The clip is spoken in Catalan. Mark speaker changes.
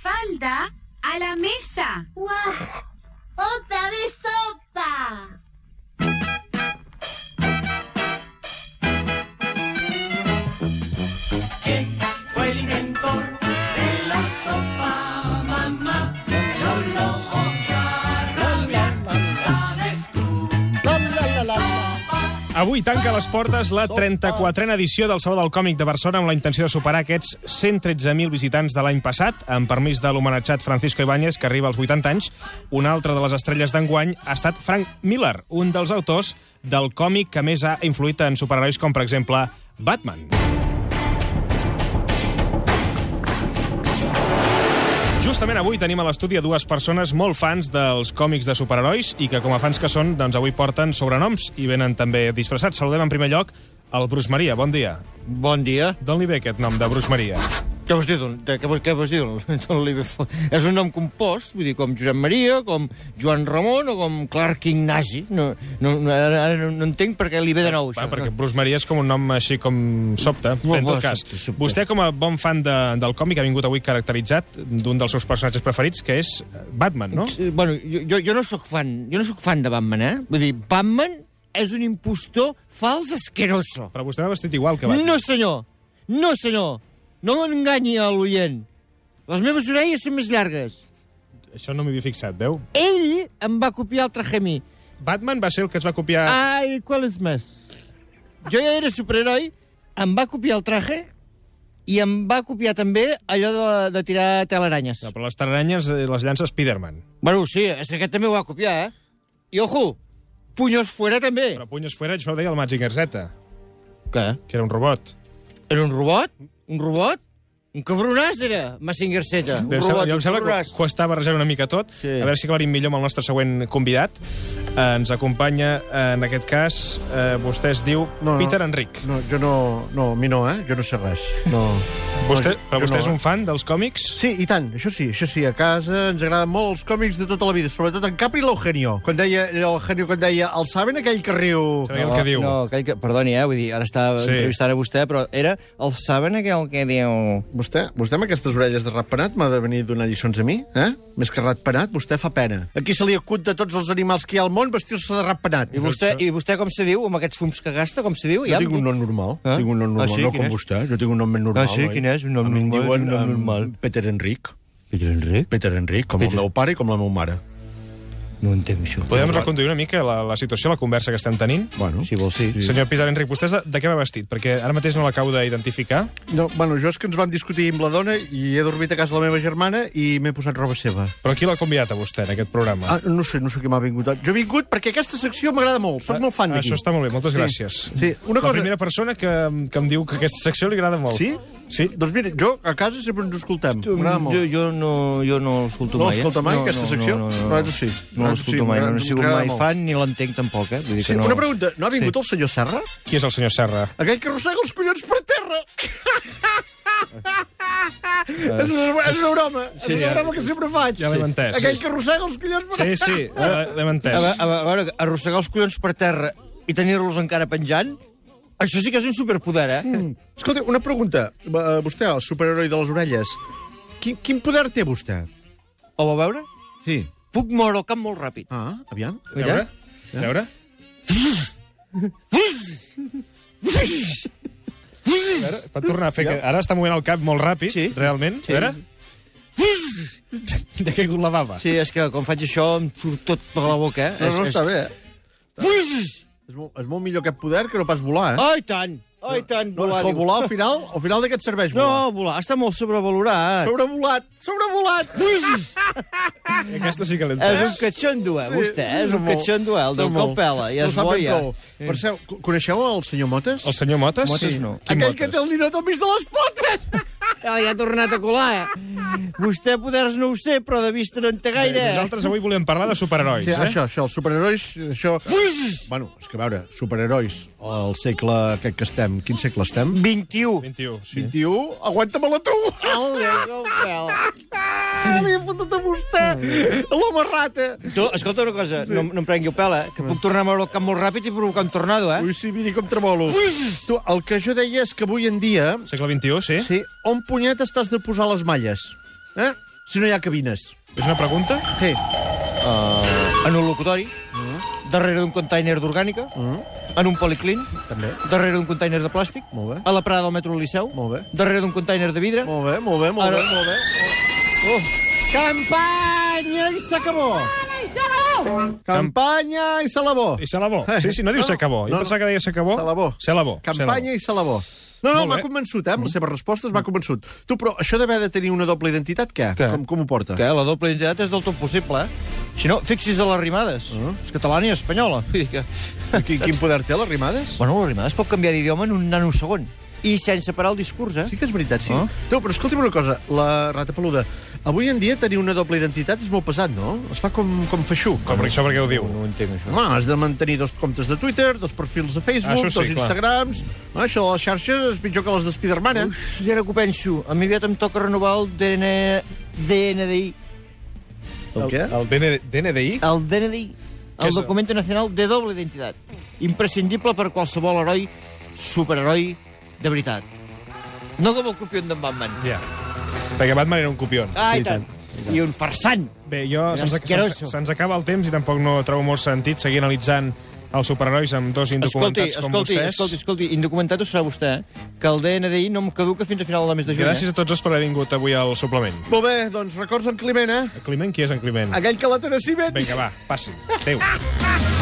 Speaker 1: Mafalda, a la mesa.
Speaker 2: ¡Guau! ¡Otra vez sopa!
Speaker 3: ¿Quién fue el inventor de la sopa, mamá? Yo lo voy a cambiar, ¿sabes tú?
Speaker 4: Avui tanca les portes la 34a edició del Saló del Còmic de Barcelona amb la intenció de superar aquests 113.000 visitants de l'any passat, amb permís de l'homenatjat Francisco Ibáñez, que arriba als 80 anys. Una altra de les estrelles d'enguany ha estat Frank Miller, un dels autors del còmic que més ha influït en superherois com, per exemple, Batman. Justament avui tenim a l'estudi a dues persones molt fans dels còmics de superherois i que com a fans que són, doncs avui porten sobrenoms i venen també disfressats. Saludem en primer lloc el Bruce Maria. Bon dia.
Speaker 5: Bon dia.
Speaker 4: D'on li ve aquest nom de Bruce Maria?
Speaker 5: Què vols dir? Don, de, què, vols- què vols dir? Don Oliver Fo- és un nom compost, vull dir, com Josep Maria, com Joan Ramon o com Clark Ignasi. No, no, no, ara ara no, no entenc per què li ve de nou, això.
Speaker 4: Va, perquè Bruce Maria és com un nom així com sobte. Bé, en
Speaker 5: bo,
Speaker 4: tot cas,
Speaker 5: Oh, sobte, sobte.
Speaker 4: vostè com a bon fan de, del còmic ha vingut avui caracteritzat d'un dels seus personatges preferits, que és Batman, no?
Speaker 5: Eh, Bueno, jo, jo, jo no sóc fan, jo no sóc fan de Batman, eh? Vull dir, Batman és un impostor fals asqueroso.
Speaker 4: Però vostè l'ha vestit igual que Batman.
Speaker 5: No, senyor! No, senyor! No l'enganyi a l'oient. Les meves orelles són més llargues.
Speaker 4: Això no m'hi havia fixat, veu?
Speaker 5: Ell em va copiar el traje a mi.
Speaker 4: Batman va ser el que es va copiar...
Speaker 5: Ai, qual és més? Jo ja era superheroi, em va copiar el traje i em va copiar també allò de, de tirar telaranyes.
Speaker 4: No, però les taranyes eh, les llança Spiderman.
Speaker 5: Bueno, sí, és que aquest també ho va copiar, eh? I ojo, punyos fuera també.
Speaker 4: Però Punyos Fuera això ho deia el Mazinger Z,
Speaker 5: Què?
Speaker 4: que era un robot.
Speaker 5: Era un robot? Un robot? Un cabronàs era, Massinger Zeta. Un
Speaker 4: Em sembla-
Speaker 5: robot,
Speaker 4: jo em
Speaker 5: un
Speaker 4: sembla que
Speaker 5: cabronàs.
Speaker 4: ho està barrejant una mica tot.
Speaker 5: Sí.
Speaker 4: A veure si aclarim millor amb el nostre següent convidat. Eh, ens acompanya, eh, en aquest cas, eh, vostè es diu
Speaker 6: No, no.
Speaker 4: Peter Enric.
Speaker 6: No, jo no... No, a mi no, eh? Jo no sé res. No.
Speaker 4: Vostè,
Speaker 6: jo-
Speaker 4: però
Speaker 6: jo
Speaker 4: vostè
Speaker 6: no,
Speaker 4: és
Speaker 6: eh?
Speaker 4: un fan dels còmics?
Speaker 6: Sí, i tant, això sí, això sí. A casa ens agraden molt els còmics de tota la vida, sobretot en Capri i l'Eugenio. Quan deia l'Eugenio, quan deia... El saben aquell que riu...
Speaker 4: Sabeu el que diu?
Speaker 5: No, aquell que, perdoni, eh, vull dir, ara estava
Speaker 4: Sí.
Speaker 5: sí. entrevistant a vostè, però era... El saben aquell que diu...
Speaker 6: Vostè, vostè amb aquestes orelles de ratpenat m'ha de venir a donar lliçons a mi, eh? Més que ratpenat, vostè fa pena. Aquí se li acut de tots els animals que hi ha al món vestir-se de ratpenat.
Speaker 5: I vostè, I vostè com se diu, amb aquests fums que gasta, com se diu?
Speaker 6: Jo
Speaker 5: em
Speaker 6: tinc
Speaker 5: diu.
Speaker 6: un nom normal,
Speaker 5: Eh?
Speaker 6: eh? tinc un nom normal,
Speaker 5: Ah, sí?
Speaker 6: no
Speaker 5: Quin
Speaker 6: com
Speaker 5: és?
Speaker 6: vostè. Jo tinc un nom més normal.
Speaker 5: Ah, sí?
Speaker 6: oi?
Speaker 5: Quin és? Un nom
Speaker 6: a mi em
Speaker 5: normal,
Speaker 6: diuen,
Speaker 5: quin nom
Speaker 6: em,
Speaker 5: normal?
Speaker 6: Peter Enric.
Speaker 5: Peter Enric?
Speaker 6: Peter Enric, com
Speaker 5: Peter-
Speaker 6: el meu pare i com la meva mare.
Speaker 5: No entenc això.
Speaker 4: Podem reconduir una mica la, la situació, la conversa que estem tenint?
Speaker 6: Bueno,
Speaker 5: Si vols, sí.
Speaker 4: Senyor Peter Enric, vostè és de, de què va vestit? Perquè ara mateix no l'acabo d'identificar.
Speaker 6: No, bueno, jo és que ens vam discutir amb la dona i he dormit a casa de la meva germana i m'he posat roba seva.
Speaker 4: Però qui l'ha convidat a vostè en aquest programa?
Speaker 6: Ah, no sé, no sé qui m'ha vingut. Jo he vingut perquè aquesta secció m'agrada molt, sóc molt fan d'aquí.
Speaker 4: Ah, Això està molt bé, moltes
Speaker 6: Sí.
Speaker 4: gràcies.
Speaker 6: Sí, una
Speaker 4: la
Speaker 6: cosa-
Speaker 4: primera persona que, que em diu que aquesta secció li agrada molt.
Speaker 6: Sí?
Speaker 4: Sí.
Speaker 6: Doncs mira, jo a casa sempre ens ho escoltem,
Speaker 5: Jo,
Speaker 6: m'agrada molt.
Speaker 5: jo, no, jo no l'escolto
Speaker 6: No
Speaker 5: mai. eh?
Speaker 6: l'escolta mai, aquesta secció?
Speaker 5: No, no, no,
Speaker 6: Nosaltres sí.
Speaker 5: No
Speaker 6: Nosaltres
Speaker 5: l'escolto
Speaker 6: sí,
Speaker 5: mai, no
Speaker 6: m'agrada-
Speaker 5: n'he sigut
Speaker 6: m'agrada
Speaker 5: mai
Speaker 6: molt.
Speaker 5: fan ni l'entenc tampoc, eh? Vull dir
Speaker 6: Sí,
Speaker 5: que no...
Speaker 6: Una pregunta, no ha vingut
Speaker 5: Sí.
Speaker 6: el senyor Serra?
Speaker 4: Qui és el senyor Serra?
Speaker 6: Aquell que arrossega els collons per terra! és, una, és una broma,
Speaker 4: Sí,
Speaker 6: és una
Speaker 4: ja-
Speaker 6: broma que sempre faig.
Speaker 4: ja l'hem entès.
Speaker 6: Aquell que arrossega els collons per
Speaker 4: Sí, sí, l'hem entès.
Speaker 5: A, ve- a, ve- a veure, arrossegar els collons per terra i tenir-los encara penjant, això sí que és un superpoder, eh?
Speaker 6: Mm. Escolta, una pregunta. Va, eh, Vostè, el superheroi de les orelles, quin, quin poder té vostè?
Speaker 5: Ho vau veure?
Speaker 6: Sí.
Speaker 5: Puc moure el cap molt ràpid.
Speaker 6: Ah, aviam.
Speaker 4: A veure? A veure? A veure, Pot tornar a fer... Que... Ara està movent el cap molt ràpid,
Speaker 5: Sí.
Speaker 4: realment.
Speaker 5: Sí.
Speaker 4: A veure? De què la bava?
Speaker 5: Sí, és que quan faig això em surt tot per la boca, eh?
Speaker 6: Però no
Speaker 5: és,
Speaker 6: està bé, eh?
Speaker 5: és...
Speaker 6: És molt, és molt millor aquest poder que no pas volar, eh?
Speaker 5: Oh, i tant! Oh, i tant!
Speaker 6: no, és que el
Speaker 5: diu.
Speaker 6: volar, al final, al final d'aquest serveix volar.
Speaker 5: No, volar està molt sobrevalorat.
Speaker 6: Sobrevolat! Sobrevolat!
Speaker 4: Aquesta sí que l'he
Speaker 5: És un catxondo, eh,
Speaker 6: Sí,
Speaker 5: vostè? És un
Speaker 6: molt.
Speaker 5: catxondo, eh? El
Speaker 6: No
Speaker 5: del
Speaker 6: molt.
Speaker 5: cop pela, ja
Speaker 6: No
Speaker 5: es
Speaker 6: sap en
Speaker 5: boia.
Speaker 6: prou. Per cert, co- coneixeu el senyor Motes?
Speaker 4: El senyor Motes?
Speaker 5: Motes no.
Speaker 4: Quin
Speaker 6: Aquell
Speaker 4: Motes?
Speaker 6: que té el ninot al mig de les potes!
Speaker 5: Ah, ja ha tornat a colar, eh? Vostè poders no ho sé, però de vista no en té gaire. eh?
Speaker 4: Nosaltres avui volem parlar de superherois,
Speaker 6: Sí,
Speaker 4: eh?
Speaker 6: Això, això, els superherois, això... Bueno, és que a veure, superherois, al segle aquest que estem, quin segle estem?
Speaker 5: 21.
Speaker 4: 21, sí.
Speaker 6: 21, aguanta-me-la tu! Ah, Li he fotut a vostè! L'home rata!
Speaker 5: Tu, escolta una cosa, no, no em prengui el pèl, eh? Que puc tornar a moure el cap molt ràpid i provocar un tornado, eh?
Speaker 6: Ui, sí, miri com tremolo. Tu, el que jo deia és que avui en dia...
Speaker 4: Segle XXI, sí?
Speaker 6: Sí, on punyet estàs de posar les malles? Eh? Si no hi ha cabines.
Speaker 4: És una pregunta?
Speaker 6: Sí.
Speaker 5: en un locutori, darrere d'un container d'orgànica, en un policlin,
Speaker 6: També.
Speaker 5: darrere d'un container de plàstic,
Speaker 6: Molt bé.
Speaker 5: a la parada del metro del Liceu,
Speaker 6: Molt bé.
Speaker 5: darrere d'un container de vidre...
Speaker 6: Molt bé, molt bé, molt
Speaker 5: Ara-
Speaker 6: Ara... bé, molt bé.
Speaker 5: Oh,
Speaker 6: Campanya i s'acabó! Campanya i s'alabó!
Speaker 4: I Salabó. Sí, sí, no diu
Speaker 6: No, no,
Speaker 4: s'acabó.
Speaker 6: no,
Speaker 4: Jo
Speaker 6: no.
Speaker 4: pensava que deia s'acabó.
Speaker 6: Salabó.
Speaker 4: Salabó.
Speaker 6: Campanya i Salabó. No, no,
Speaker 4: Molt
Speaker 6: m'ha
Speaker 4: bé.
Speaker 6: convençut, eh? Amb les seves respostes m'ha convençut. Tu, però això d'haver de tenir una doble identitat, què?
Speaker 5: Què?
Speaker 6: Com, com ho porta?
Speaker 5: que la doble identitat és del tot possible, eh? Si no, fixi's a les rimades. És catalana i espanyola. Mm. Vull dir que...
Speaker 6: Quin, quin poder té, les rimades?
Speaker 5: Bueno, les rimades pot canviar d'idioma en un nanosegon. I sense parar el discurs, eh?
Speaker 6: Sí que és veritat, sí.
Speaker 5: Ah.
Speaker 6: No, però escolta'm una cosa, la rata peluda. Avui en dia tenir una doble identitat és molt pesat, no? Es fa com, com feixuc.
Speaker 4: Com, això per què ho diu?
Speaker 5: No ho entenc, això.
Speaker 6: Home, has de mantenir dos comptes de Twitter, dos perfils de Facebook,
Speaker 4: Això
Speaker 6: sí,
Speaker 4: sí,
Speaker 6: dos
Speaker 4: clar.
Speaker 6: Instagrams... Home, això de les xarxes és pitjor que les de Spiderman, eh?
Speaker 5: Ui, I ara que ho penso, a mi aviat em toca renovar el DN... DNDI.
Speaker 6: El què?
Speaker 7: El DN DNDI?
Speaker 5: El DNDI,
Speaker 4: Què
Speaker 5: el
Speaker 4: és?
Speaker 5: documento nacional de doble identitat. Imprescindible per qualsevol heroi, superheroi, de veritat. No com el copion d'en Batman.
Speaker 4: Ja.
Speaker 7: Perquè Batman era un copion.
Speaker 5: Ah, i tant. I un farsant.
Speaker 4: Bé, jo... se'ns-
Speaker 5: Asqueroso.
Speaker 4: se'ns- Se'ns acaba el temps i tampoc no trobo molt sentit seguir analitzant els superherois amb dos
Speaker 5: Escolti,
Speaker 4: indocumentats com
Speaker 5: escolti,
Speaker 4: vostès.
Speaker 5: escolti, escolti, indocumentat ho serà vostè, eh? que el DNDI no em caduca fins a final del mes de juny. eh?
Speaker 4: Gràcies a tots els per haver vingut avui al suplement.
Speaker 6: Molt bé, doncs records en Climent, eh?
Speaker 4: Climent, qui és en Climent?
Speaker 6: Aquell que la té de ciment.
Speaker 4: Vinga, va, passi. Adéu.
Speaker 5: Eh?